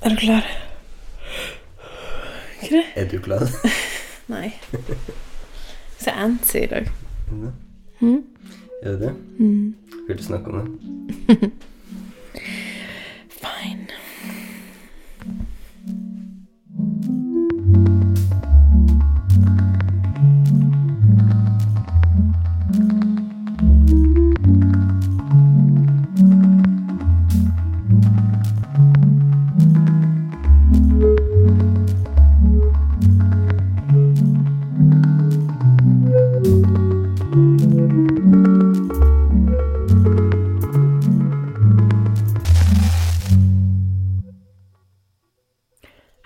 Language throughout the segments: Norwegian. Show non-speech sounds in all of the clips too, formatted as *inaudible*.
Er du klar? Ikke det? Er du klar? Nei. *laughs* Så antsy i dag. Mm. Er du det? Vil du snakke om det? Fine.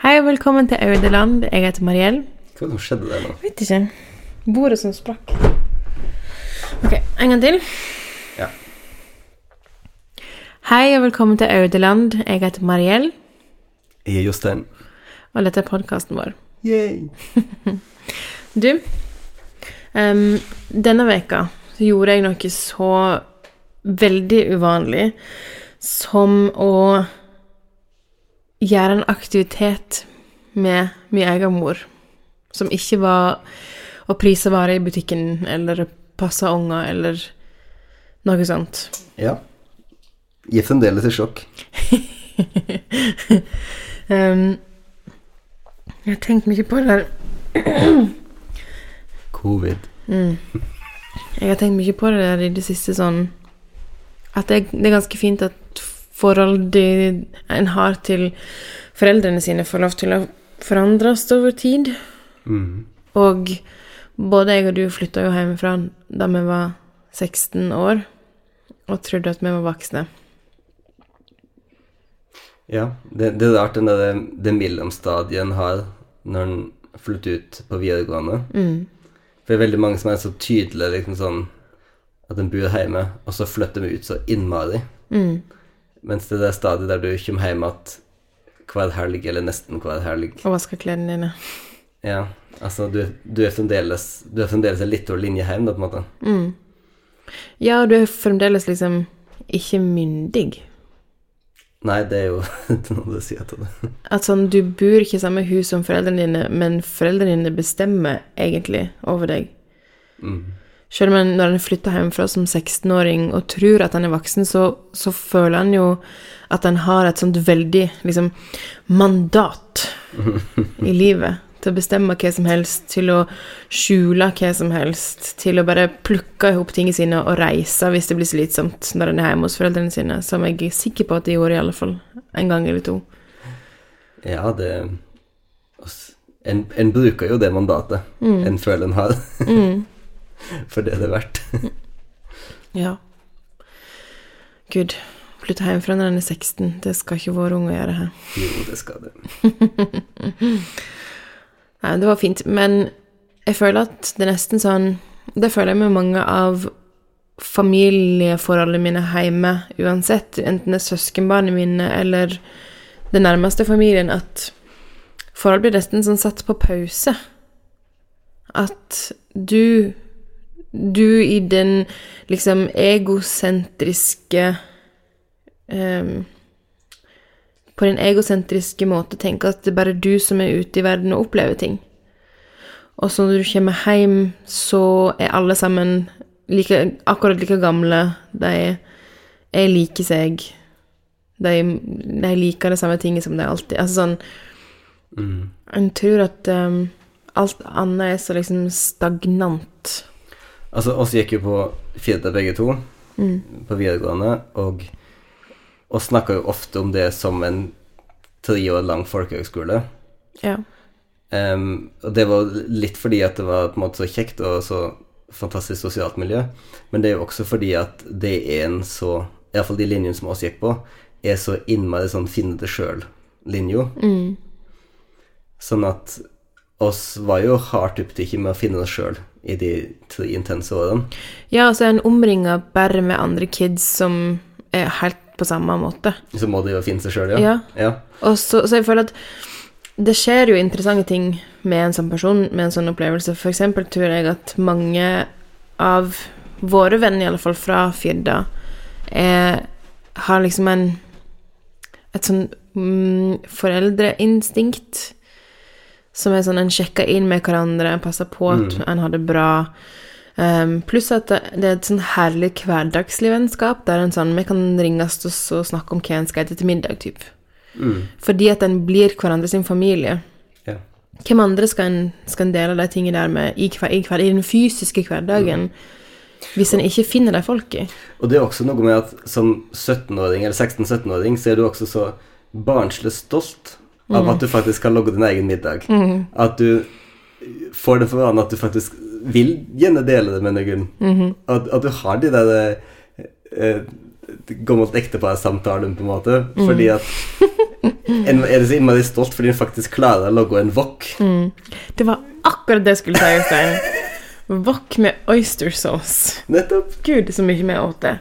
Hei og velkommen til Audeland. Jeg heter Mariell. Hva som skjedde der nå? Vet ikke. Bordet som sprakk. Ok, en gang til. Ja. Hei og velkommen til Audeland. Jeg heter Mariell, Jeg er Jostein. og dette er podkasten vår. Yay! Du, em, denne veka så gjorde jeg noe så veldig uvanlig som å gjøre en aktivitet med min egen mor, som ikke var å prise varer i butikken eller passe unger eller noe sånt. Ja. Jeg er fremdeles i sjokk. Em, jeg har tenkt mye på det der. Covid. Jeg har tenkt mye på det der i det siste sånn At det, det er ganske fint at forholdet en har til foreldrene sine, får lov til å forandres over tid. Mhm. Og både jeg og du flytta jo hjemmefra da vi var 16 år og trodde at vi var voksne. Ja, det, det er rart den der, det mellomstadiet en har når en flytter ut på videregående. For det er veldig mange som er så tydelige liksom sånn at en bor hjemme, og så flytter vi ut så innmari. Mens det er det stadiet der du kommer hjem igjen hver helg, eller nesten hver helg. Og vaska klærne dine. Ja, altså du, du er fremdeles Du er fremdeles en litt over linje hjem, da, på en måte. Ja, og du er fremdeles liksom ikke myndig. Nei, det er jo *laughs* det er noe du sier til det. At sånn, du bor ikke i samme hus som foreldrene dine, men foreldrene dine bestemmer egentlig over deg. Selv om en- når en flytter hjemmefra som 16-åring og tror at en er voksen, så, så føler en jo at en har et sånt veldig liksom, mandat i livet til å bestemme hva som helst, til å skjule hva som helst, til å bare plukke ihop tingene sine og reise hvis det blir slitsomt når en er hjemme hos foreldrene sine, som jeg er sikker på at de gjorde i alle fall en gang eller to. Ja, det ass, en, en bruker jo det mandatet en føler en har. *laughs* For det er det verdt. Ja. Gud, flytte hjemmefra når en er 16, det skal ikke våre unge gjøre her. Jo, det skal det. Nei, men det var fint, men jeg føler at det er nesten sånn Det føler jeg med mange av familieforholdene mine hjemme uansett, enten det er søskenbarna mine eller den nærmeste familien, at forhold blir nesten sånn satt på pause. At du Du i den liksom egosentriske ehm, på din egosentriske måte tenke at det er bare du som er ute i verden og opplever ting. Og så når du kommer hjem, så er alle sammen like, akkurat like gamle. De er like seg. De, de liker det samme tinget som de alltid Altså sånn En tror at um, alt annet er så liksom stagnant. Altså, oss gikk jo på Firda begge to på videregående, og oss snakka jo ofte om det som en tre år lang folkehøgskole. Ja. Ehm, og det var litt fordi at det var på en måte så kjekt og så fantastisk sosialt miljø, men det er jo også fordi at det er en så Iallfall de linjene som oss gikk på, er så innmari sånn finne det sjøl-linja. Sånn at oss var jo hardt opptatt med å finne oss sjøl i de tre intense årene. ja, og så er en omringa bare med andre kids som er helt på samme måte. Så må de jo finne seg sjøl, Ja. ja. ja. Og så, så jeg føler at det skjer jo interessante ting med en sånn person, med en sånn opplevelse. For eksempel tror jeg at mange av våre venner, i alle fall fra Firda, er, har liksom en et sånn mm, foreldreinstinkt som er sånn en sjekker inn med hverandre, en passer på at en har det bra. Ehm, pluss at det det er et sånn herlig hverdagslig vennskap der en sånn Vi kan ringes og så snakke om hva en skal ete til middag, typ. Fordi at en blir hverandre sin familie. Ja. Hvem andre skal en, skal en dele de tingene der med i, hver, i, hver, i den fysiske hverdagen? Hvis en ikke finner de folka. Og det er også noe med at som 17-åring, eller 16-17-åring, så er du også så barnslig stolt av at du faktisk kan logge din egen middag. At du får det for vane at du faktisk vil gjerne dele det med noen. at, at du har de der eh, gammelt ektepar-samtalen, på en måte. Fordi at en, er du så innmari stolt fordi du faktisk klarer å logge en wok. Det var akkurat det jeg skulle si, Jostein. Wok med oyster sauce. Nettopp. Gud, så mye vi åt det.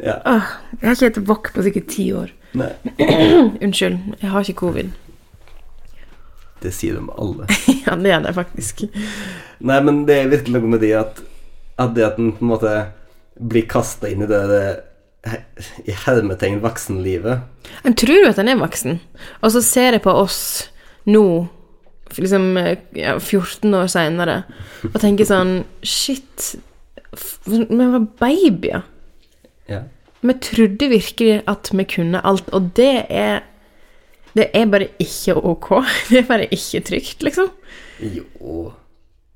Ja. Åh, jeg har ikke hett wok på sikkert ti år. Nei. Unnskyld, jeg har ikke covid. *laughs* Det sier de alle. ja, det er det faktisk. Nei, men det er virkelig noe med det at, at det at en på en måte blir kasta inn i det, det he- i hermetegn voksenlivet. Jeg tror jo at han er voksen. Og så ser jeg på oss nå, f- liksom eh, ja, 14 år seinere, og tenker sånn Shit, f- vi var babyer. Ja. Vi trodde virkelig at vi kunne alt, og det er Det er bare ikke ok. *laughs* Det er bare ikke trygt, liksom. Jo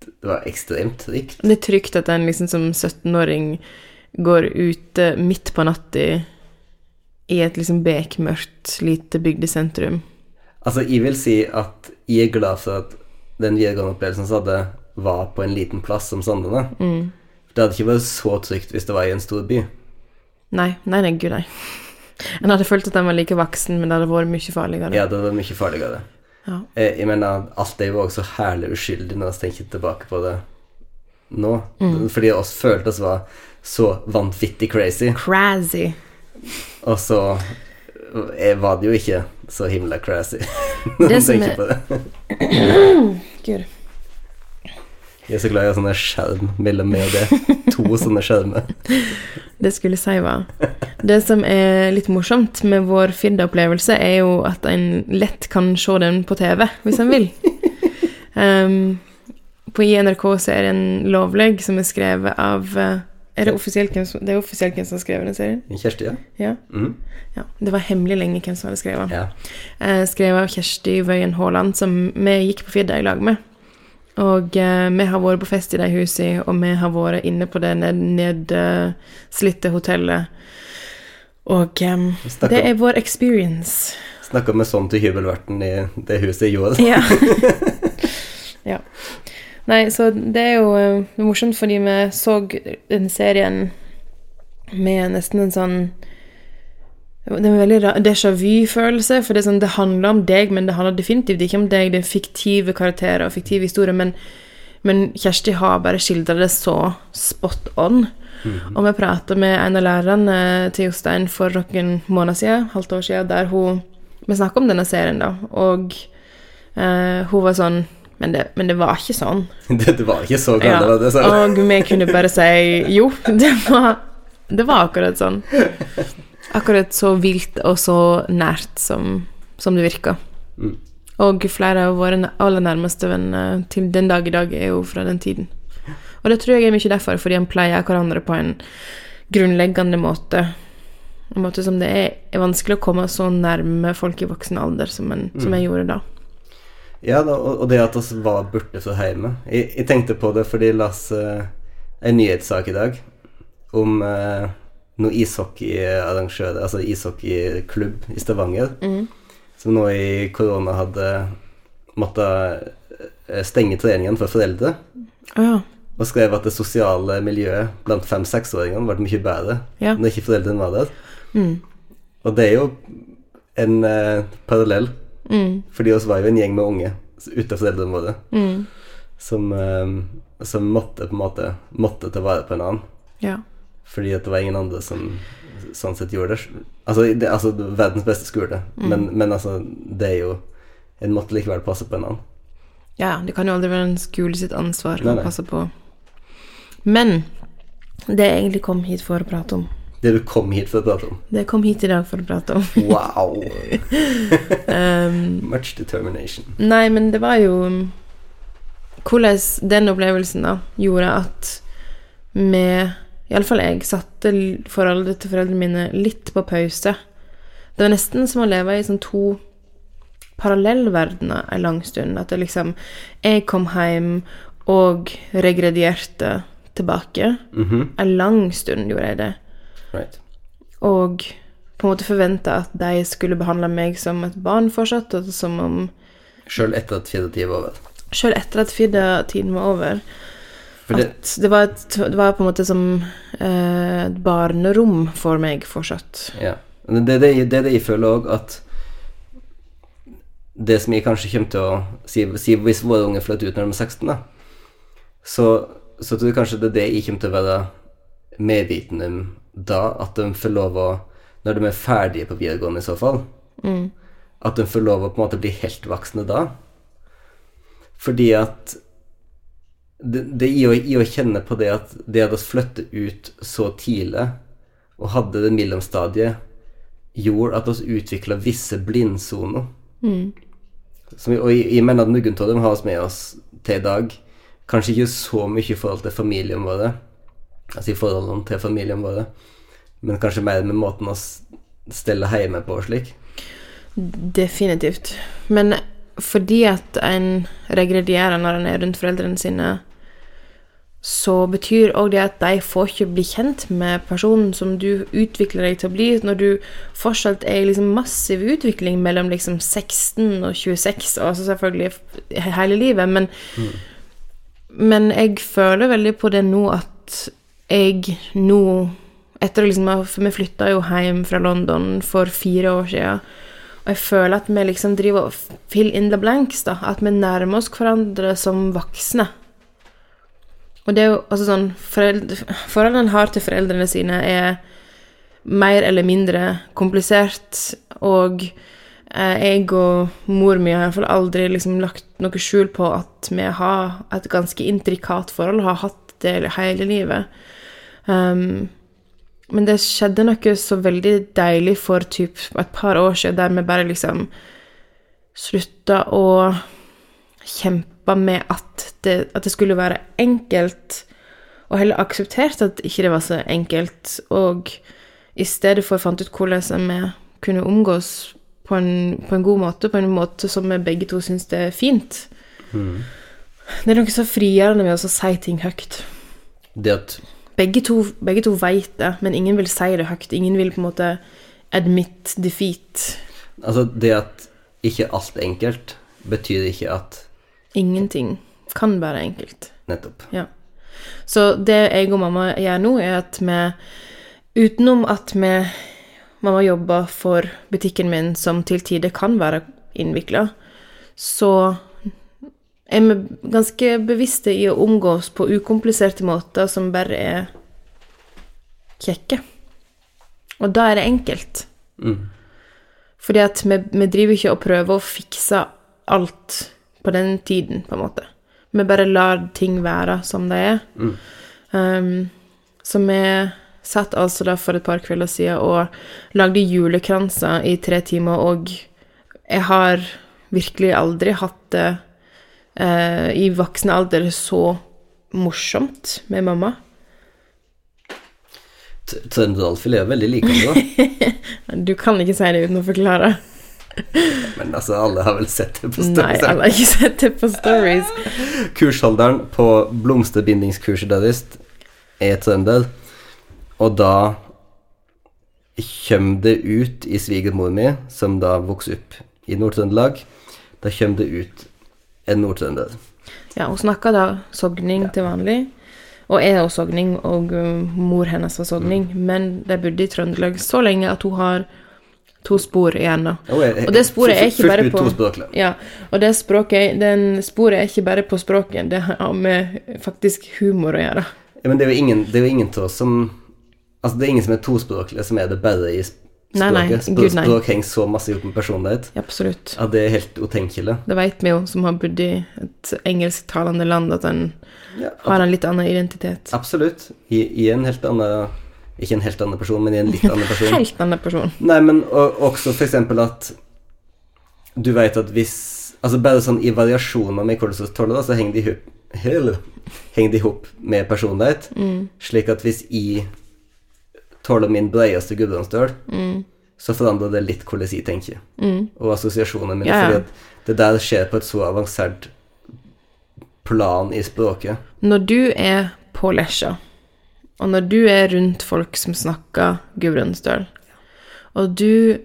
Det var ekstremt trygt. Det er trygt at en liksom som 17-åring går ute midt på natta i et liksom bekmørkt, lite bygdesentrum. Altså, jeg vil si at jeg er glad for at den videregående opplevelsen jeg hadde, var på en liten plass som Sandane. Det hadde ikke vært så trygt hvis det var i en stor by. Nei, nei, nei, gud, nei. En hadde følt at en var like voksen, men det hadde vært mye farligere. Ja, det var mye farligere. Ja. Eh, Jeg mener, alt er jo også herlig uskyldig når vi tenker tilbake på det nå. Mm. Fordi oss følte oss var så vanvittig crazy, Crazy. og så eh, var det jo ikke så himla crazy. Det *laughs* når man som tenker er- på det. *clears throat* Gud. Jeg er så glad i å ha sånne skjerm mellom meg og *laughs* det. To sånne skjermer. Det skulle jeg si var Det som er litt morsomt med vår Firda-opplevelse, er jo at en lett kan se den på TV hvis en vil. Ehm, på i NRK-serien Lovleg, som er skrevet av eh, Er det offisielt hvem som, det er offisielt hvem som har skrevet den serien? Kjersti, ja? Ja. Mhm. ja. Det var hemmelig lenge hvem som hadde skrevet den. ja. eh, skrevet av Kjersti Wøien Haaland, som vi gikk på Firda i lag med. Og eh, vi har vært på fest i de husene, og vi har vært inne på det nedslitte hotellet. Og eh, Stakkar. det er vår experience. Snakka med sånn til hybelverten i det huset i Joel. Ja. ja. Nei, så det er jo eh, morsomt fordi vi så den serien med nesten en sånn Det er en veldig ra- déjà vu-følelse, for det er sånn, det handler om deg, men det handler definitivt ikke om deg. Det er fiktive karakterer og fiktive historier, men, men Kjersti har bare skildra det så spot on. Og vi prata med en av lærerne eh, til Jostein for noen måneder siden, halvt år siden, der hun Vi snakka om denne serien, da, og Eh, hun var sånn men det, men det var ikke sånn. *laughs* Det, det var ikke så galt, det var det. Så. Og vi kunne bare si jo, det var, det var akkurat sånn. Akkurat så vilt og så nært som, som det virka. Mm. Og flere av våre n- aller nærmeste venner til den dag i dag er jo fra den tiden. Og det tror jeg er mye derfor, fordi en pleier hverandre på en grunnleggende måte. En måte som det er, er vanskelig å komme så nærme folk i voksen alder som en, som Mm. en gjorde da. Ja, da, og og det at oss var borte fra hjemme. Jeg, jeg tenkte på det fordi jeg las eh, en nyhetssak i dag om uh, noen ishockeyarrangører, altså ishockeyklubb i Stavanger, som nå i korona hadde måttet eh, stenge treningen for foreldre, Å ja. og skrev at det sosiale miljøet blant fem-seksåringene ble mye bedre Ja. når ikke foreldrene var der. Og det er jo en eh, parallell. Mm. Fordi oss var jo en gjeng med unge ute av foreldrene våre som, eh, som måtte på en måte måtte ta vare på en annen. Ja. Fordi at det var ingen andre som sånn sett gjorde det. Altså, det, altså verdens beste skole, men, men altså, det er jo En måtte likevel passe på en annen. Ja, det kan jo aldri være en skole sitt ansvar Nei, å nei. passe på. Men det jeg egentlig kom hit for å prate om, Det du kom hit for å prate om. Det jeg kom hit i dag for å prate om. Wow! Ehm, *laughs* Much determination. Nei, men det var jo um, Hvordan den opplevelsen da gjorde at med Iallfall jeg satte l- forholdet til foreldrene mine litt på pause. Det var nesten som å leve i sånn to parallellverdener en lang stund. At det liksom Jeg kom hjem og regredierte tilbake. Mhm. En lang stund gjorde jeg det. Right. Og på en måte forventa at de skulle behandle meg som et barn fortsatt, og som om Sjøl etter at fjerde tid var over. Sjøl etter at Fidda-tiden var over. For det, at det var, et, det var på en måte som eh, et barnerom for meg fortsatt. Ja. Men Det er det, det, er det jeg føler òg, at Det som jeg kanskje kommer til å si, si hvis våre unge flytter ut når de er 16, da, så, så tror jeg kanskje det er det jeg kommer til å være medviten om da, at de får lov å Når de er ferdige på videregående, i så fall, at de får lov å på en måte bli helt voksne da. Fordi at det, det i, å, I å kjenne på det at det at oss flytte ut så tidlig og hadde det mellomstadiet, gjorde at oss utvikla visse blindsoner. Som vi- Og jeg, jeg mener at noen av dem har oss med oss til i dag. Kanskje ikke så mye i forhold til familien vår, altså i forholdene til familien vår, men kanskje mer med måten oss steller hjemme på og slik. Definitivt. Men fordi at en regredierer når en er rundt foreldrene sine, så betyr òg det at de får ikke bli kjent med personen som du utvikler deg til å bli, når du fortsatt er i liksom massiv utvikling mellom liksom 16 og 26, og altså selvfølgelig he- hele livet, men Men jeg føler veldig på det nå at jeg nå Etter å liksom ha- For vi flytta jo hjem fra London for fire år siden. Og jeg føler at vi liksom driver og fill in the blanks, da. At vi nærmer oss hverandre som voksne. Og det er jo altså sånn foreldre, Forholdene en har til foreldrene sine, er mer eller mindre komplisert, og eh, jeg og mor mi har i hvert fall aldri liksom lagt noe skjul på at vi har et ganske intrikat forhold, og har hatt det hele livet. Um, men det skjedde noe så veldig deilig for typ et par år siden, der vi bare liksom slutta å kjempe med at det, at det skulle være enkelt, og heller aksepterte at ikke det var så enkelt, og i stedet for fant ut hvordan vi kunne omgås på en, på en god måte, på en måte som vi begge to syns det er fint. Det er noe så frigjørende med å si ting høyt. Det at Begge to, begge to veit det, men ingen vil si det høyt. Ingen vil på en måte admit defeat. Altså, det at ikke alt er enkelt, betyr ikke at Ingenting kan være enkelt. Nettopp. Ja. Så det jeg og mamma gjør nå, er at vi Utenom at vi Mamma jobber for butikken min, som til tider kan være innvikla, så er vi ganske bevisste i å omgås på ukompliserte måter som bare er kjekke. Og da er det enkelt. Fordi at vi, vi driver ikke og prøver å fikse alt på den tiden, på en måte. Vi bare lar ting være som de er. Um, så vi satt altså da for et par kvelder siden og lagde julekranser i tre timer, og jeg har virkelig aldri hatt det eh, i voksen alder så morsomt med mamma. T- Trønderalfil er veldig like nå, *laughs* Du kan ikke si det uten å forklare. men altså, alle har vel sett det på Nei, jeg størrelse. har ikke sett det på stories. Kursholderen på blomsterbindingskurset deres er trønder, og da kommer det ut i svigermor mi, som da vokser opp i Nord-Trøndelag, da kommer det ut en nordtrønder. Ja, hun snakka da sogning til vanlig, og er også sogning, og ø, mor hennes var sogning, men de bodde i Trøndelag så lenge at hun har to spor igjen nå. Og jeg- Og det sporet er fullt- ikke bare fullt ut på tospråklig. ja, og det språket, den sporet er ikke bare på språket, det har med faktisk humor å gjøre. Ja, men det er jo ingen, det er jo ingen til oss som Altså, det er ingen som er tospråklige, som er det bare i sp- språket. Nei, nei, Språk- gud, nei. Språk henger så masse ihop med personlighet Absolutt. at det er helt utenkelig. Det veit vi jo, som har bodd i et engelsktalende land, at en Ja, har en litt annen identitet. Absolutt. I, I en helt annen Ikke en helt annen person, men i en litt annen person. Helt annen person. Nei, men og, også for eksempel at du vet at hvis Altså bare sånn i variasjoner med kortisoståler, da, så henger de i hop- hel- henger de i hop med personlighet. Mm. Slik at hvis jeg tåler min breieste gudbrandsdøl, Mm. så forandrer det litt hvordan jeg tenker, og assosiasjonene mine. Ja, ja. Fordi at det der skjer på et så avansert plan i språket. Når du er på lesja, og når du er rundt folk som snakker Gudbrandsdøl, og du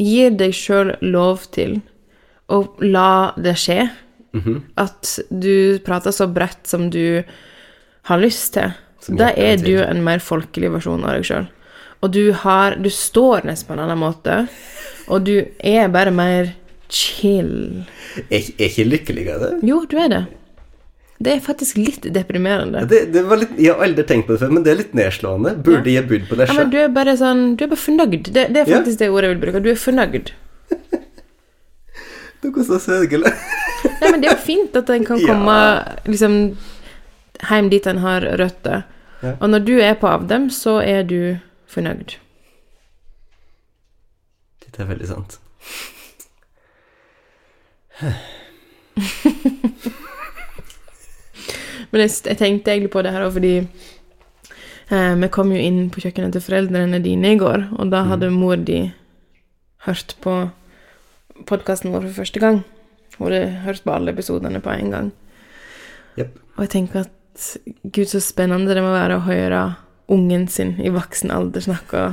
gir deg sjøl lov til å la det skje, Mhm. at du prater så bredt som du har lyst til, Som da hjertet er vil. du en mer folkelig versjon av deg sjøl. Og du har Du står nesten på en annen måte, og du er bare mer chill. Er, ikke- er ikke lykkeligere? Jo, du er det. Det er faktisk litt deprimerende. Det, det var litt, jeg har aldri tenkt på det før, men det er litt nedslående. Burde jeg bodd på Ja, Lesja? men du er bare sånn Du er bare fornøyd. Det, det er Ja. faktisk det ordet jeg vil bruke. Du er fornøyd. Det går så sørgelig. *laughs* Nei, men det er jo fint at en kan Ja. komme liksom hjem dit en har røtter. Ja. Og når du er på Avdem, så er du fornøyd. Det er veldig sant. Men jeg, jeg tenkte egentlig på det her òg fordi eh, vi kom jo inn på kjøkkenet til foreldrene dine i går, og da hadde mor di hørt på podkasten vår for første gang. Hun hadde hørt på alle episodene på en gang. Jepp. Og jeg tenker at gud, så spennende det må være å høre ungen sin i voksen alder snakke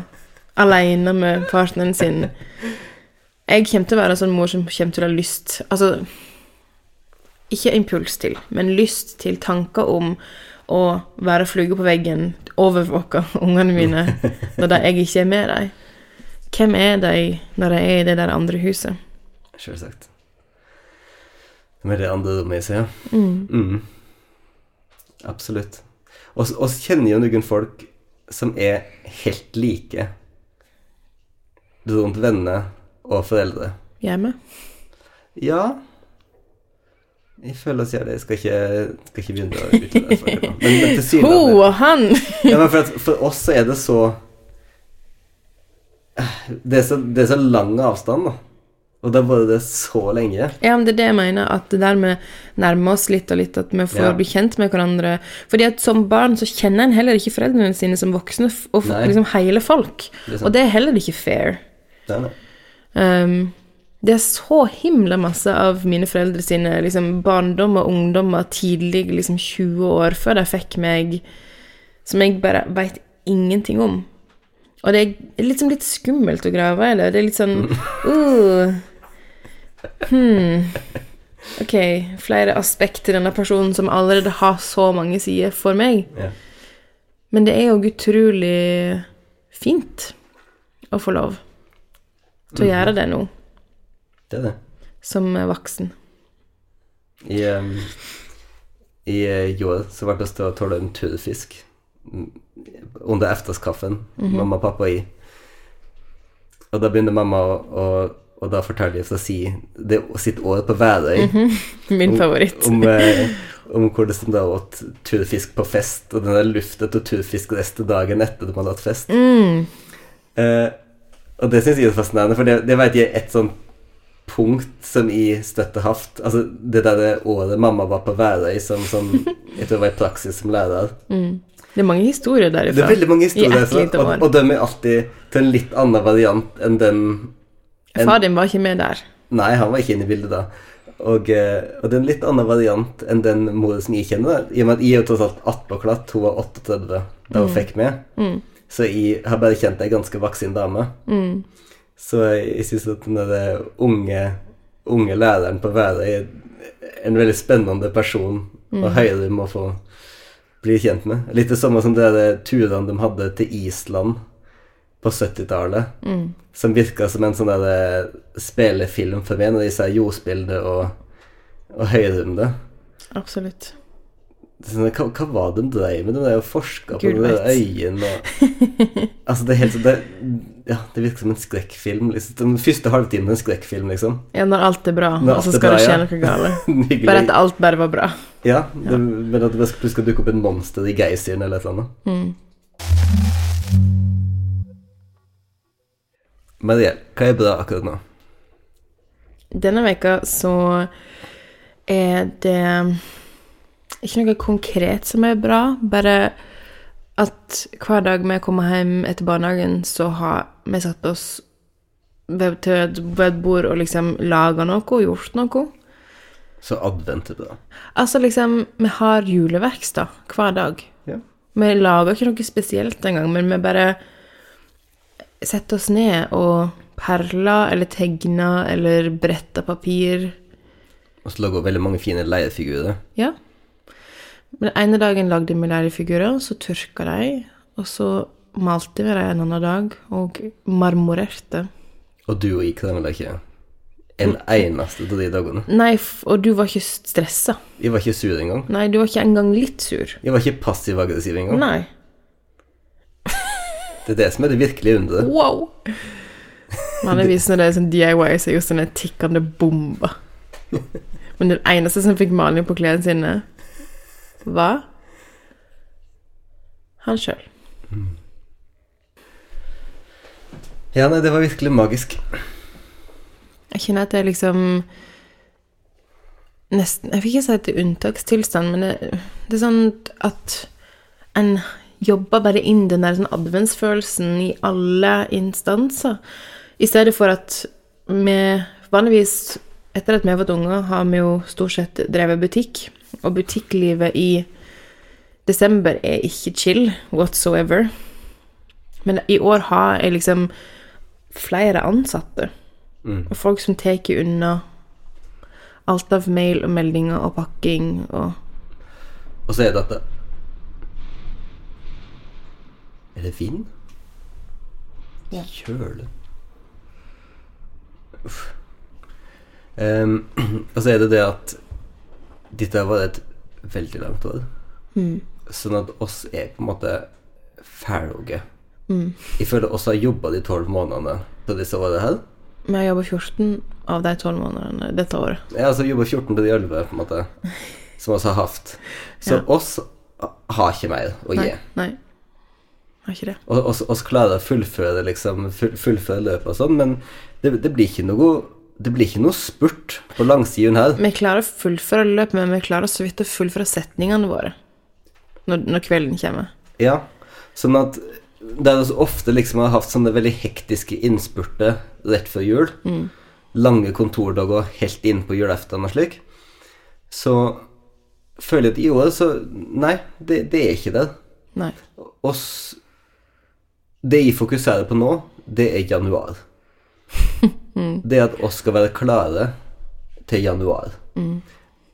alene med partneren sin. Jeg kommer til å være en sånn mor som kommer til å ha lyst Altså ikke impuls til, men lyst til tanker om å være flue på veggen, overvåke *laughs* ungene mine når de- jeg ikke er med dem. Hvem er de når de er i det der andre huset? Selvsagt. Med det andre rommet i seg, ja. Mm. Absolutt. Oss, oss kjenner jo noen folk som er helt like rundt venner og foreldre. Hjemme? Ja Jeg føler oss gjør det. Jeg skal ikke, skal ikke begynne å utlevere folk nå. Men, men tilsynelatende *laughs* Ho og han! ja, men for, at, for oss så er det så Det er så, det er så lang avstand, da. Og det har vært det så lenge. Ja, men det er det jeg mener, at det der med nærme oss litt og litt, at vi får Ja. bli kjent med hverandre. Fordi at som barn så kjenner en heller ikke foreldrene sine som voksne, f- og f- Nei. liksom hele folk. Det er sant. og det er heller ikke fair. Det er det. Um, det er så himla masse av mine foreldre sine liksom, barndom og ungdommer tidlig, liksom 20 år før de fikk meg, som jeg bare veit ingenting om. Og det er liksom litt skummelt å grave i det. Det er litt sånn uh, hmm. Ok, flere aspekter denne personen som allerede har så mange sider for meg. Ja. Men det er jo utrolig fint å få lov til å gjøre det nå, det, er det. som voksen. I, um, I eh, år så ble vi til å tåle en turfisk mm, under efterskaffen, mamma, pappa og jeg. Og da begynner mamma å, å og da forteller de oss å si det, sitt år på Værøy. Oh. Min favoritt. *laughs* om, eh, om hvordan det åt turfisk på fest, og den der luftet og turfiskrester dagen etter at man har hatt fest. Mm. Eh, og det syns jeg er fascinerende, for det, det vet jeg er et sånt punkt som i støtte haft. Altså det derre året mamma var på Værøy som, *laughs* som jeg tror var i praksis som lærer. Det er mange historier Det derifra. er veldig I mange historier, ett lite så- og, år. og de er alltid til en litt annen variant enn den en- Far din var ikke med der. Nei, han var ikke inne i bildet da. Og, eh, og det er en litt annen variant enn den mora som jeg kjenner. da. I og med at jeg er jo tross alt 18 og klatt, hun var 38 da hun fikk meg. Så jeg har bare kjent ei ganske vaksin dame. Så jeg syns at den der eh, unge, unge læreren på Værøy er en veldig spennende person og høyere må få bli kjent med. Litt det samme som de der eh, turene de hadde til Island på 70-tallet Mm. som virka som en sånn der eh, spelefilm for meg, når de sier jordspillet og, og høyrunde. Absolutt. Det er Sånn, hva, hva var det de dreiv med? De drev og forska på Gud de der vet. øyene og *laughs* Altså, det er helt sånn det, Ja, det virker som en skrekkfilm. Liksom. Den første halvtimen er en skrekkfilm, liksom. Ja, når alt er bra, Når og så alt er skal det skje bra, ja. noe *laughs* galt. Hyggelig. Bare at alt bare var bra. Mm. Ja, det, men at det bare skal- plutselig skal dukke opp en monster i geysiren eller et eller annet. Mariell, hva er bra akkurat nå? Denne veka så er det ikke noe konkret som er bra, bare at hver dag vi kommer hjem etter barnehagen, så har vi satt oss ved til et ved et bord og liksom laga noe, gjort noe. Så advent er bra. Altså liksom, vi har juleverks da, hver dag. Ja. Vi lager ikke noe spesielt engang, men vi bare setter oss ned og perler eller tegner eller bretter papir. Og så lager hun veldig mange fine leirfigurer. Ja. Men den ene dagen lagde vi lærefigurer, så tørka de, og så malte vi dem en annen dag, og marmorerte. Og du og jeg krangla ikke en eneste av de dagene. Nei, f og du var ikke stressa. Jeg var ikke sur engang. Nei, du var ikke engang litt sur. Jeg var ikke passiv-aggressiv engang. Nei. Det er det som er det virkelige underet. Wow! Vanligvis når det er sånn DIY, så er jo sånne tikkende bomber. Men den eneste som fikk maling på klærne sine, var han sjøl. Ja, nei, det var virkelig magisk. Jeg kjenner at det er liksom Nesten Jeg vil ikke si at det er unntakstilstand, men det, det er sånn at en jobber bare inn den der sånn adventsfølelsen i alle instanser. I stedet for at vi vanligvis, etter at vi har fått unger, har vi jo stort sett drevet butikk. Og butikklivet i desember er ikke chill whatsoever. Men i år har jeg liksom flere ansatte. Og folk som tar unna alt av mail og meldinger og pakking og Og så er dette Er det vind? Ja. Kjøle. Uff. Ehm, *clears throat* og så er det det at dette var et veldig langt år. Mm. Sånn at oss er på en måte ferdige. Mm. Jeg føler oss har jobba de tolv månedene på disse årene her. Vi har jobba 14 av de 12 månedene dette året. Jeg har altså jobba 14 til de 11, på en måte, som oss har hatt. Så oss har ikke mer å gi. Nei. Nei. Har ikke det. Og oss, oss klarer å fullføre, liksom, full, fullføre løpet og sånn, men det, det blir ikke noe det blir ikke noe spurt på langsiden her. Vi klarer å fullføre løpet, men vi klarer så vidt å fullføre setningene våre når, når kvelden kommer. Ja, sånn at der vi ofte liksom har hatt sånne veldig hektiske innspurter rett før jul, lange kontordager helt inn på julaften og slik, så føler jeg at i år så Nei, det, det er ikke det. Nei. oss Det jeg fokuserer på nå, det er januar. Det at oss skal være klare til januar.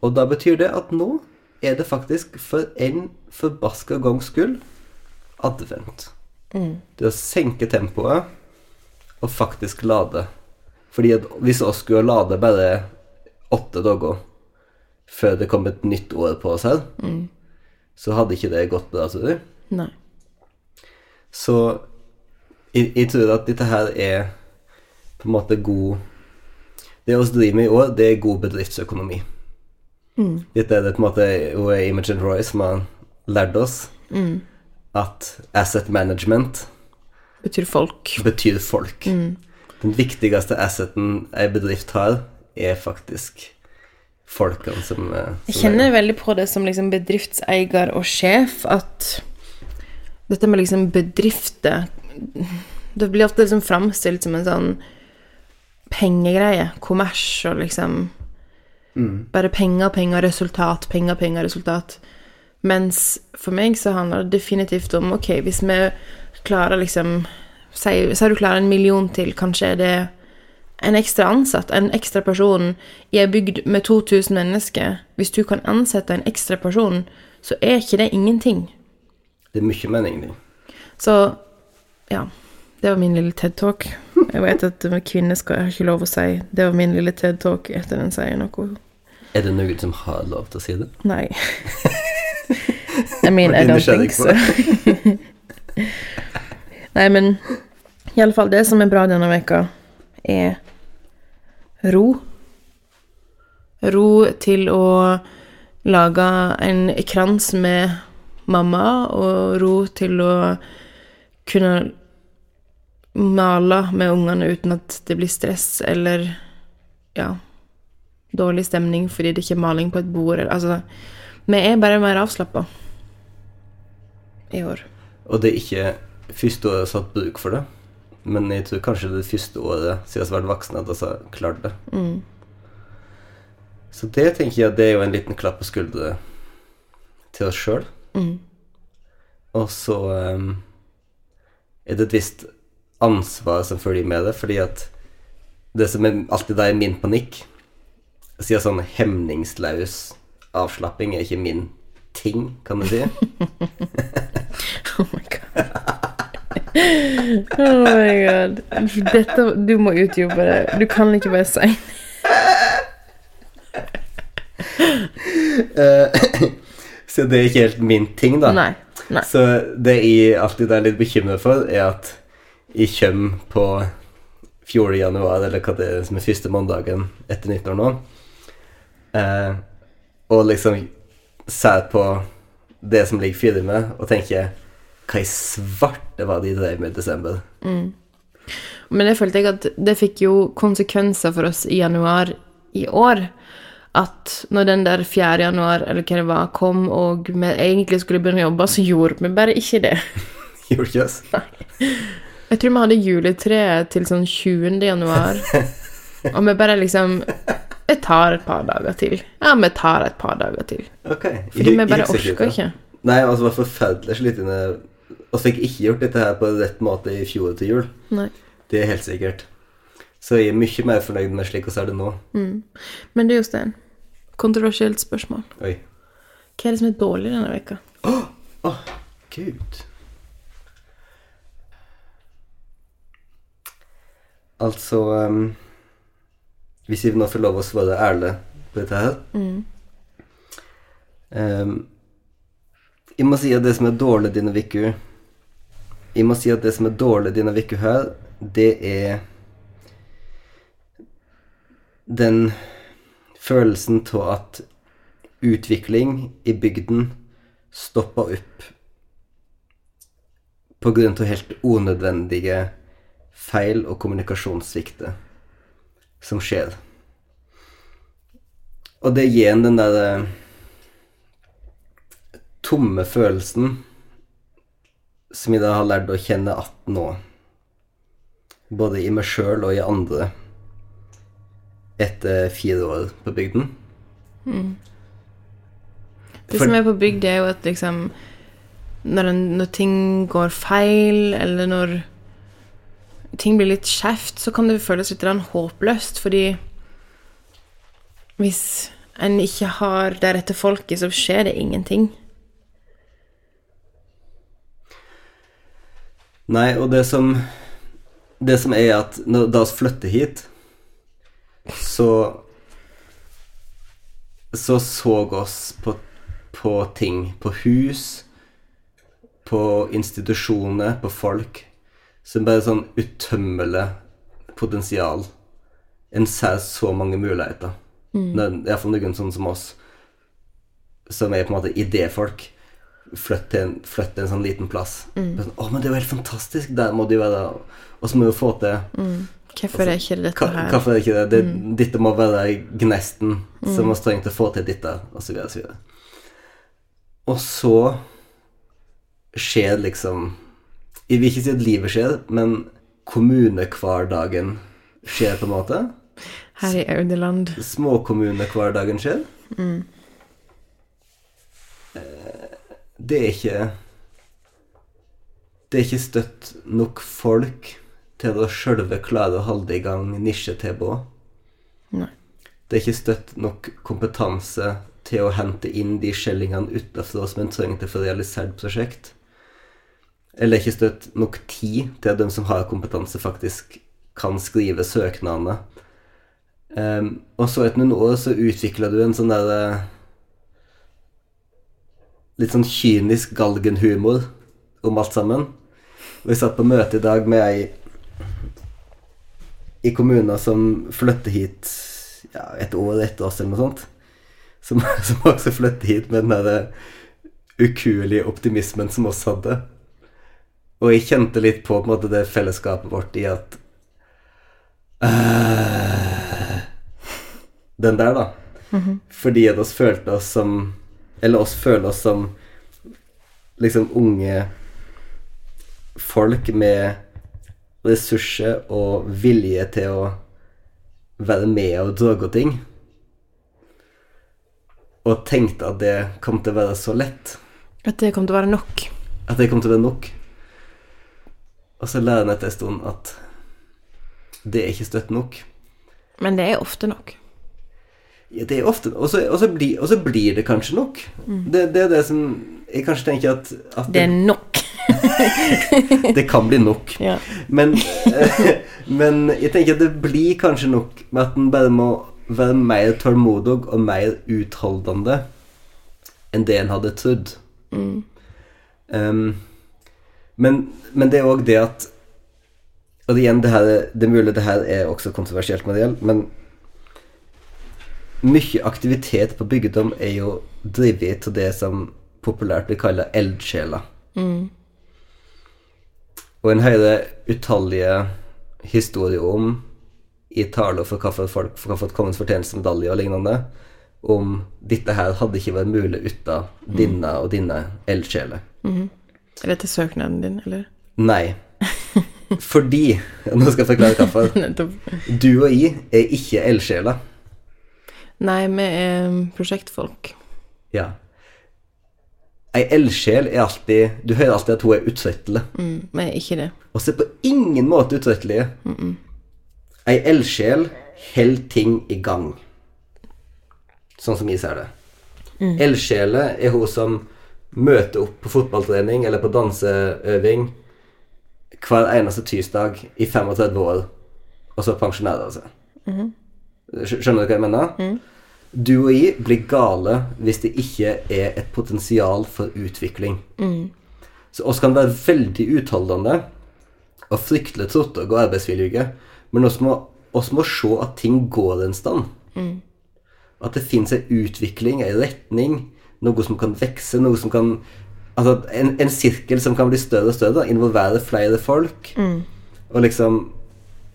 Og da betyr det at nå er det faktisk for en forbaska gangs skyld advent. Det å senke tempoet og faktisk lade. Fordi at hvis oss skulle lade bare åtte dager før det kom et nytt år på oss her, så hadde ikke det gått bra, tror jeg. Nei. Så jeg, jeg tror at dette her er på en måte god Det vi driver med i år, det er god bedriftsøkonomi. Mm. Dette er det på en måte jo Imogen Roy som har lært oss Mm. at asset management Betyr folk. betyr folk. Mm. Den viktigste asseten ei bedrift har, er faktisk folkene som, eh, som Jeg kjenner veldig på det som liksom bedriftseier og sjef, at dette med liksom bedrifter Det blir ofte liksom framstilt som en sånn pengegreie. Kommers og liksom Bare penger, penger, resultat, penger, penger, resultat. Mens for meg så handler det definitivt om Ok, hvis vi klarer liksom Sier sier du klarer en million til, kanskje er det en ekstra ansatt, en ekstra person i ei bygd med 2000 mennesker Hvis du kan ansette en ekstra person, så er ikke det ingenting. Det er mye mening i. Så ja. Det var min lille TED-talk. Jeg vet at kvinner skal jeg har ikke lov å si 'det var min lille TED-talk' etter den sier noe. Er det noen som har lov til å si det? Nei. I mean, I Ble don't nysgjerrig think so. på *laughs* Nei, men i alle fall det som er bra denne veka, er ro. Ro til å lage en krans med mamma, og ro til å kunne mala med ungene uten at det blir stress eller ja, dårlig stemning fordi det ikke er maling på et bord. eller- Altså, vi er bare mer avslappa i år. Og det er ikke første året jeg har satt bruk for det. Men jeg tror kanskje det er første året siden jeg har vært voksen at jeg har klart det. Så det tenker jeg det er jo en liten klapp på skuldra til oss sjøl. Og så ehm, er det et visst ansvar som følger med det, fordi at det som er alltid er min panikk Siden sånn hemningsløs avslapping er ikke min ting, kan du si. *laughs* Oh my god. *laughs* Oh my god. Dette, du må utdype det. Du kan ikke bare si *laughs* Så det er ikke helt min ting, da. nei. Nei. Så det jeg alltid er litt bekymret for, er at jeg kommer på 4. januar, eller hva det er som er første mandagen etter nyttår nå, eh, og liksom ser på det som ligger fire med, og tenker hva i svarte var det de drev med i desember? *laughs* Men det følte jeg at det fikk jo konsekvenser for oss i januar i år. At når den der 4. januar, eller hva det var, kom, og vi egentlig skulle begynne å jobbe, så gjorde vi bare ikke det. Gjorde ikke oss? Jeg tror vi hadde juletreet til sånn 20. januar. Og vi bare liksom Vi tar et par dager til. Ja, vi tar et par dager til. Ok. Fordi Jeg- vi jeg bare husker orker det. ikke. Nei, altså det var forferdelig slitne. Og så fikk jeg ikke gjort dette her på rett måte i fjor til jul. Nei. Det er helt sikkert. Så jeg er mye mer fornøyd med slik vi er det nå. Men du, Jostein. Kontroversielt spørsmål. Oi. Hva er det som er dårlig denne veka? Åh, gud. Altså ehm, Hvis vi nå får lov å svare ærlig på dette her ehm, Jeg må si at det som er dårlig denne uka Jeg må si at det som er dårlig denne uka her, det er den følelsen av at utvikling i bygden stoppa opp på grunn av helt unødvendige feil og kommunikasjonssvikter som skjer. Og det gir en den der eh, tomme følelsen som jeg da har lært å kjenne at nå. Både i meg sjøl og i andre etter fire år på bygden. Det For- som er på bygd, det er jo at liksom når, en, når ting går feil, eller når ting blir litt skjevt, så kan det føles litt grann håpløst, fordi hvis en ikke har det rette folket, så skjer det ingenting. Nei, og det som Det som er at når, da vi flytter hit, så Så så oss på, på ting. På hus, på institusjoner, på folk. Som bare sånn utømmelig potensial. En ser så mange muligheter. Mm. Iallfall noen sånne som oss, som er på en måte idéfolk flytt til en, flytt til en sånn liten plass. Bare Sånn, 'Å, men det er jo helt fantastisk. Der må det jo være.' Og så må vi jo få til Hvorfor er ikke det hva- dette her? Hvorfor er det ikke det? det Dette må være gnesten som vi trenger til å få til dette, og så videre, og så videre. Og så skjer liksom Jeg vil ikke si at livet skjer, men kommunehverdagen skjer, på en måte. Her i Audeland. Småkommunehverdagen skjer. Eh, Det er ikke Det er ikke støtt nok folk til å sjølve klare å holde i gang nisjetilbud. Nei. Det er ikke støtt nok kompetanse til å hente inn de skjellingene utenfor som en trenger for å realisere et prosjekt. Eller ikke støtt nok tid til at de som har kompetanse, faktisk kan skrive søknadene. Ehm, og så etter noen år så utvikla du en sånn der eh, Litt sånn kynisk galgenhumor om alt sammen. Og jeg satt på møte i dag med ei i kommuner som flytter hit ja, et år etter oss, eller noe sånt. Som, *laughs* som også eh, flytter hit med den derre ukuelige optimismen som oss hadde. Og jeg kjente litt på, på en måte, det fellesskapet vårt i at øh, Den der, da. Fordi at oss følte oss som Eller oss føler oss som liksom unge folk med ressurser og vilje til å være med og drage ting. Og tenkte at det kom til å være så lett. At det kom til å være nok. At det kom til å være nok. Og så lærer en etter en stund at det er ikke støtt nok. Men det er ofte nok. Ja, det er ofte Og så og så blir, og så blir det kanskje nok. Det, det er det som Jeg kanskje tenker at, at Mm. Det er *laughs* nok. det, det kan bli nok. Ja. Men, eh, *laughs* men jeg tenker at det blir kanskje nok med at en bare må være mer tålmodig og mer utholdende enn det en hadde trodd. Um, men, men det er òg det at Og igjen, det, her, er- det er mulig det her er også kontroversielt med det gjelder, men mye aktivitet på bygdom er jo drevet av det som populært blir kalla eldsjeler. Og en hører utallige historier om, i taler for hvilke folk som har fått kongens fortjenestemedalje og lignende, om dette her hadde ikke vært mulig uten dine og dine eldsjeler. Er dette søknaden din, eller? *laughs* Nei. *laughs* Fordi Nå skal jeg forklare hvorfor. Nettopp. Du og jeg er ikke eldsjeler. Nei, vi er prosjektfolk. Ja. Ei eldsjel er alltid Du hører alltid at hun er utrettelig. Mm, vi er ikke det. Og så er på ingen måte utrettelige. Ei eldsjel holder ting i gang. Sånn som jeg ser det. Eldsjelet er hun som møter opp på fotballtrening eller på danseøving hver eneste tirsdag i 35 år, og så pensjonerer hun seg. Skj- Skjønner du hva jeg mener? Du og jeg blir gale hvis det ikke er et potensial for utvikling. Så oss kan være veldig utholdende og fryktelig trotte og gå arbeidsvillige, men oss må, oss må se at ting går en stand. At det finnes en utvikling, en retning, noe som kan vekse, noe som kan Altså en, en sirkel som kan bli større og større, involvere flere folk, og liksom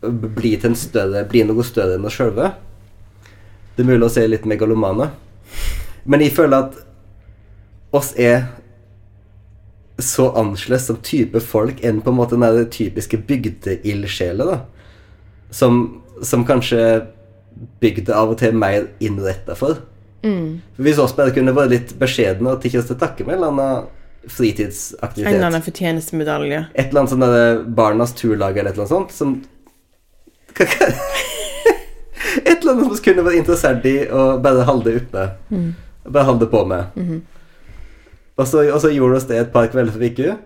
b- bli til en større Bli noe større enn oss sjølve. Det er mulig å se litt megalomane, men jeg føler at oss er så annerledes som type folk enn på en måte den der typiske bygdeildsjela, da. Som, som kanskje bygda av og til er mer innretta for. Mm. For Hvis oss bare kunne vært litt beskjedne og tatt oss til takke med en eller annen En eller fritidsaktivitet annen fortjenestemedalje. Et eller annet sånn der Barnas turlag eller et eller annet sånt som *laughs* Hva- hva- Et eller annet som vi kunne vært interessert i og bare holde det oppe. Mm. Bare holde det på med. Mm-hmm. Og så, og så gjorde oss det et par kvelder for uke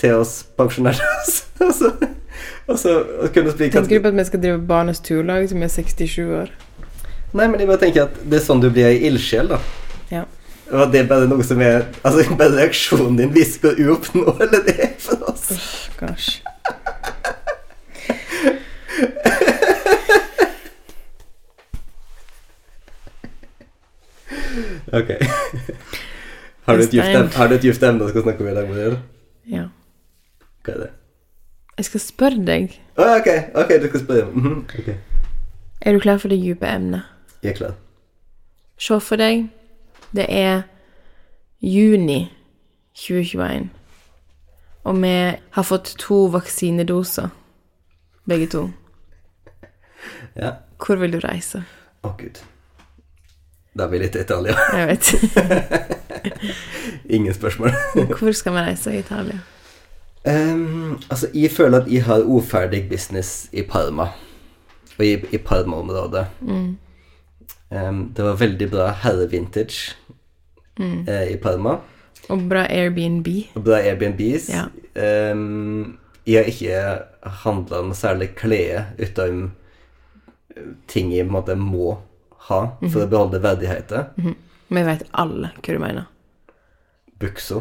til oss pensjonerte oss. *laughs* og så, og så kunne vi bli Tenker ganske du på at vi skal drive Barnas turlag som er 67 år? Nei, men jeg bare tenker at det er sånn du blir ei ildsjel, da. Ja. Og at det er bare noe som er Altså, *laughs* bare reaksjonen din viser hvor uoppnåelig det er for oss. Gosh. Ok. *laughs* Har du et Neste gift en. em- har du et gift emne du skal snakke om i dag, Mariel? Ja. Hva er det? Jeg skal spørre deg. Å, ja, ok, ok, du skal spørre. Mhm, Ok, Er du klar for det dype emnet? jeg er klar. Se for deg, det er juni 2021. Og vi har fått to vaksinedoser, begge to. Ja. Hvor vil du reise? Å, Gud. Da blir det til Italia. Jeg vet. *laughs* *laughs* Ingen spørsmål. *laughs* Hvor skal vi reise i Italia? Ehm, altså, jeg føler at jeg har uferdig business i Parma. Og i, i Parma-området. Ehm, det var veldig bra herre-vintage eh, i Parma. Og bra Airbnb. Og bra Airbnbs. Ja. Ehm, jeg har ikke handla noe særlig klær utenom ting jeg på en måte må ha for å beholde verdigheten. Vi vet alle hva du mener. *laughs* Buksa.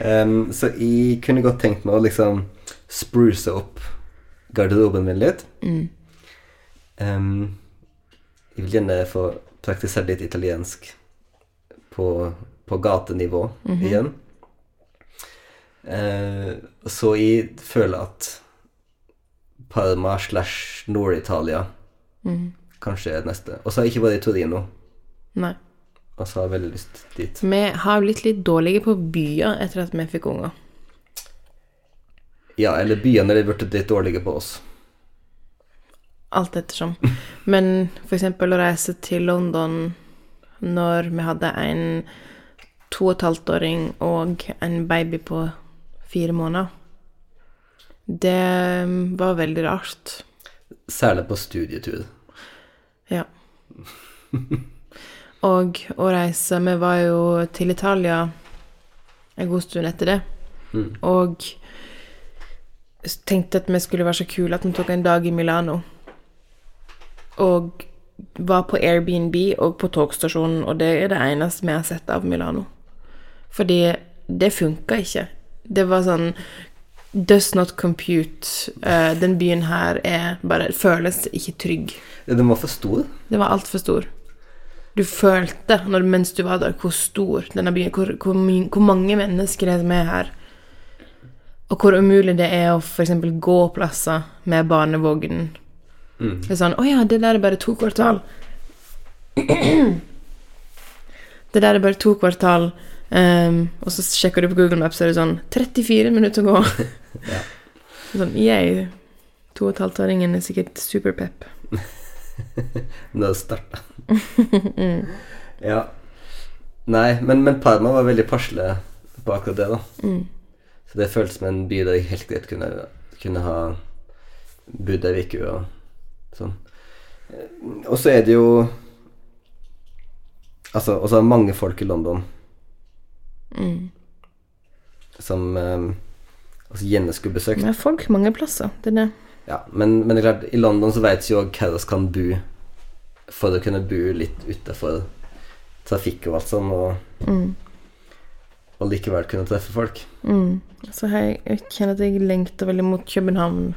Ehm, så jeg kunne godt tenkt meg å liksom spruce opp garderoben min litt. Ehm, jeg vil gjerne få praktisert litt italiensk på, på gatenivå igjen. Eh, så jeg føler at Parma slash Nord-Italia kanskje er neste. Og så har jeg ikke vært i Torino, Nei. og så har jeg veldig lyst dit. Vi har blitt litt dårlige på byer etter at vi fikk unger. Ja, eller byene er blitt litt dårlige på oss. Alt ettersom. Men for eksempel å reise til London når vi hadde en to og et halvt åring og en baby på fire måneder. Det mm, var veldig rart. Særlig på studietur. Ja. Og å reise Vi var jo til Italia en god stund etter det. Og s- tenkte at vi skulle være så kule at vi tok en dag i Milano. Og var på Airbnb og på togstasjonen, og det er det eneste vi har sett av Milano. Fordi det funka ikke. Det var sånn Does not compute. Eh, den byen her er bare Føles ikke trygg. Den var for stor. Den var altfor stor. Du følte når, mens du var der, hvor stor denne byen hvor, hvor, my- hvor mange mennesker det er som er her. Og hvor umulig det er å f.eks. gå plasser med barnevogn. Det er sånn Å ja, det der er bare to kvartal. *clears throat* det der er bare to kvartal. ehm, og så sjekker du på Google Maps, så er det sånn 34 minutter å gå. Ja. Sånn yeah. To og et halvt åringen er sikkert superpep. Når det starta. ja. Nei, men, men Parma var veldig passelig på akkurat det, da. Så det føltes som en by der jeg helt greit kunne, kunne ha bodd ei uke og sånn. Eh, Og så er det jo Altså, og så er det mange folk i London som eh, altså, gjerne skulle besøkt. Men folk mange plasser, det er det. Ja, men, men det er klart, i London så vet jo også hva vi kan bo for å kunne bo litt utenfor trafikk og alt sånn, og, og likevel kunne treffe folk. Mm. Så jeg, jeg kjenner at jeg lengter veldig mot København.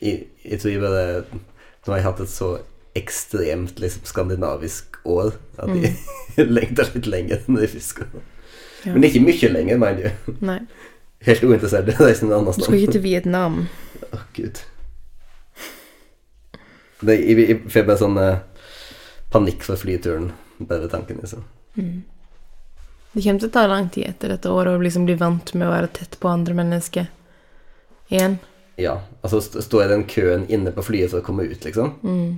Jeg, jeg tror jeg bare Nå har jeg hatt et så ekstremt liksom, skandinavisk år at jeg *laughs* lengter litt lenger enn jeg fisker. Ja. Men ikke mye lenger, mind you. Nei, Helt uinteressert i å reise noe du annet sted. skal ikke til Vietnam. Å, gud. Det, jeg, jeg får bare sånn eh, panikk for flyturen bare ved tanken, liksom. Det kommer til å ta lang tid etter dette året å liksom bli vant med å være tett på andre mennesker igjen. Ja. Altså st stå i den køen inne på flyet for å komme ut, liksom. Mm.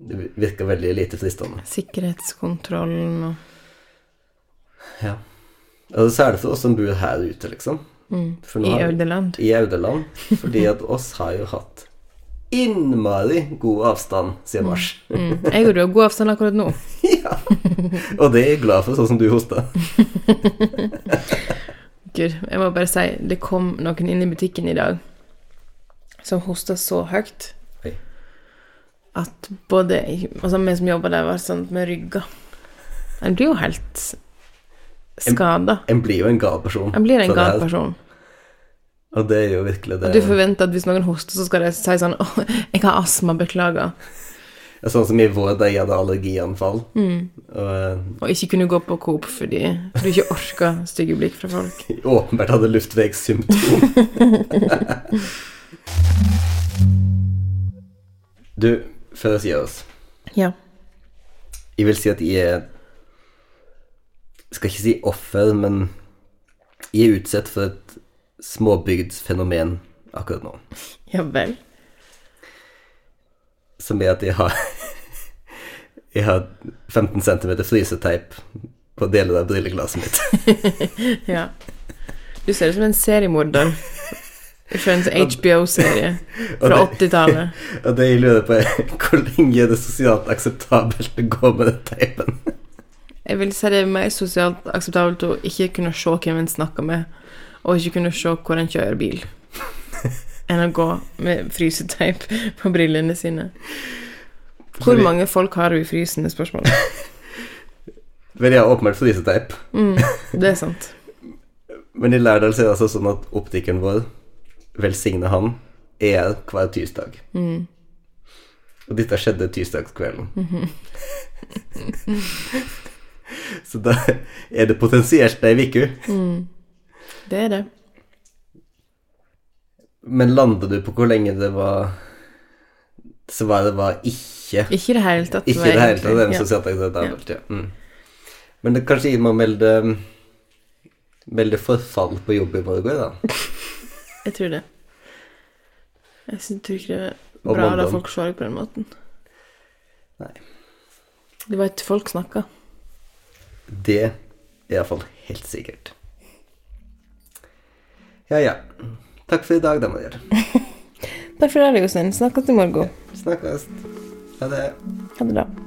Det vi- virker veldig lite fristende. Sikkerhetskontrollen og Ja. Altså, særlig for oss som bor her ute, liksom. Mm. For nå I har- Audeland. I Audeland. Fordi at oss har jo hatt innmari god avstand siden mars. *laughs* Mm. Jeg og du har god avstand akkurat nå. ja. Og det er jeg glad for, sånn som du hosta. Gud, jeg må bare si det kom noen inn i butikken i dag som hosta så høyt Oi. at både Altså, vi som jobber der, var sånn med rygga. En blir jo helt skada. En blir jo en gal person. En blir en Så det gal er- person. Og det er jo virkelig det. Du forventer at hvis noen hoster, så skal de si sånn *laughs* Åh, jeg har astma, beklager. Ja, Sånn som i vår, da jeg hadde allergianfall. Og eh, Og ikke kunne gå på Coop fordi du ikke orker stygge blikk fra *laughs* folk. jeg åpenbart hadde luftveissymptom. *laughs* du, før jeg sier oss Ja. Jeg vil si at jeg er Skal ikke si offer, men jeg er utsatt for et småbygdsfenomen akkurat nå. Ja vel. Som er at jeg har *laughs* Jeg har 15 cm fryseteip på deler av brilleglasset mitt. Ja. Du ser ut som en seriemorder. Fra en sånn HBO-serie fra *laughs* Og 80-tallet. Og det jeg lurer på er *laughs* hvor lenge er det sosialt akseptabelt å gå med den teipen? Jeg vil si det er mer sosialt akseptabelt å ikke kunne se hvem en snakker med, og ikke kunne se hvor en kjører *laughs* bil, enn å gå med fryseteip på brillene sine. Hvor Fordi- mange folk har du i frysen, er spørsmålet. Vel, jeg har åpenbart fryseteip, Mm, Det er sant. men i Lærdal så er det altså sånn at optikeren vår, velsigne han, er her hver tirsdag. Og dette skjedde tirsdagskvelden. *laughs* Så da er det potensielt ei uke. Det er det. Men landa du på hvor lenge det var Så hva det var ikke Ikke i det hele tatt. Ikke var i det hele egentlig- tatt en ja. sosialaktivitet. Ja. Mm. Men det kanskje gir meg melde Melde mm, forfall på jobb i morgen, da. Jeg tror det. Jeg syns- tror ikke det er Og bra å la mandag. folk se deg på den måten. Nei. Det var ikke folk snakka. Det er iallfall helt sikkert. Ja, ja. Takk for i dag, da, Mariell. Takk for i dag, Jostein. Snakkes i morgen. Snakkes. Ha det. Ha det bra.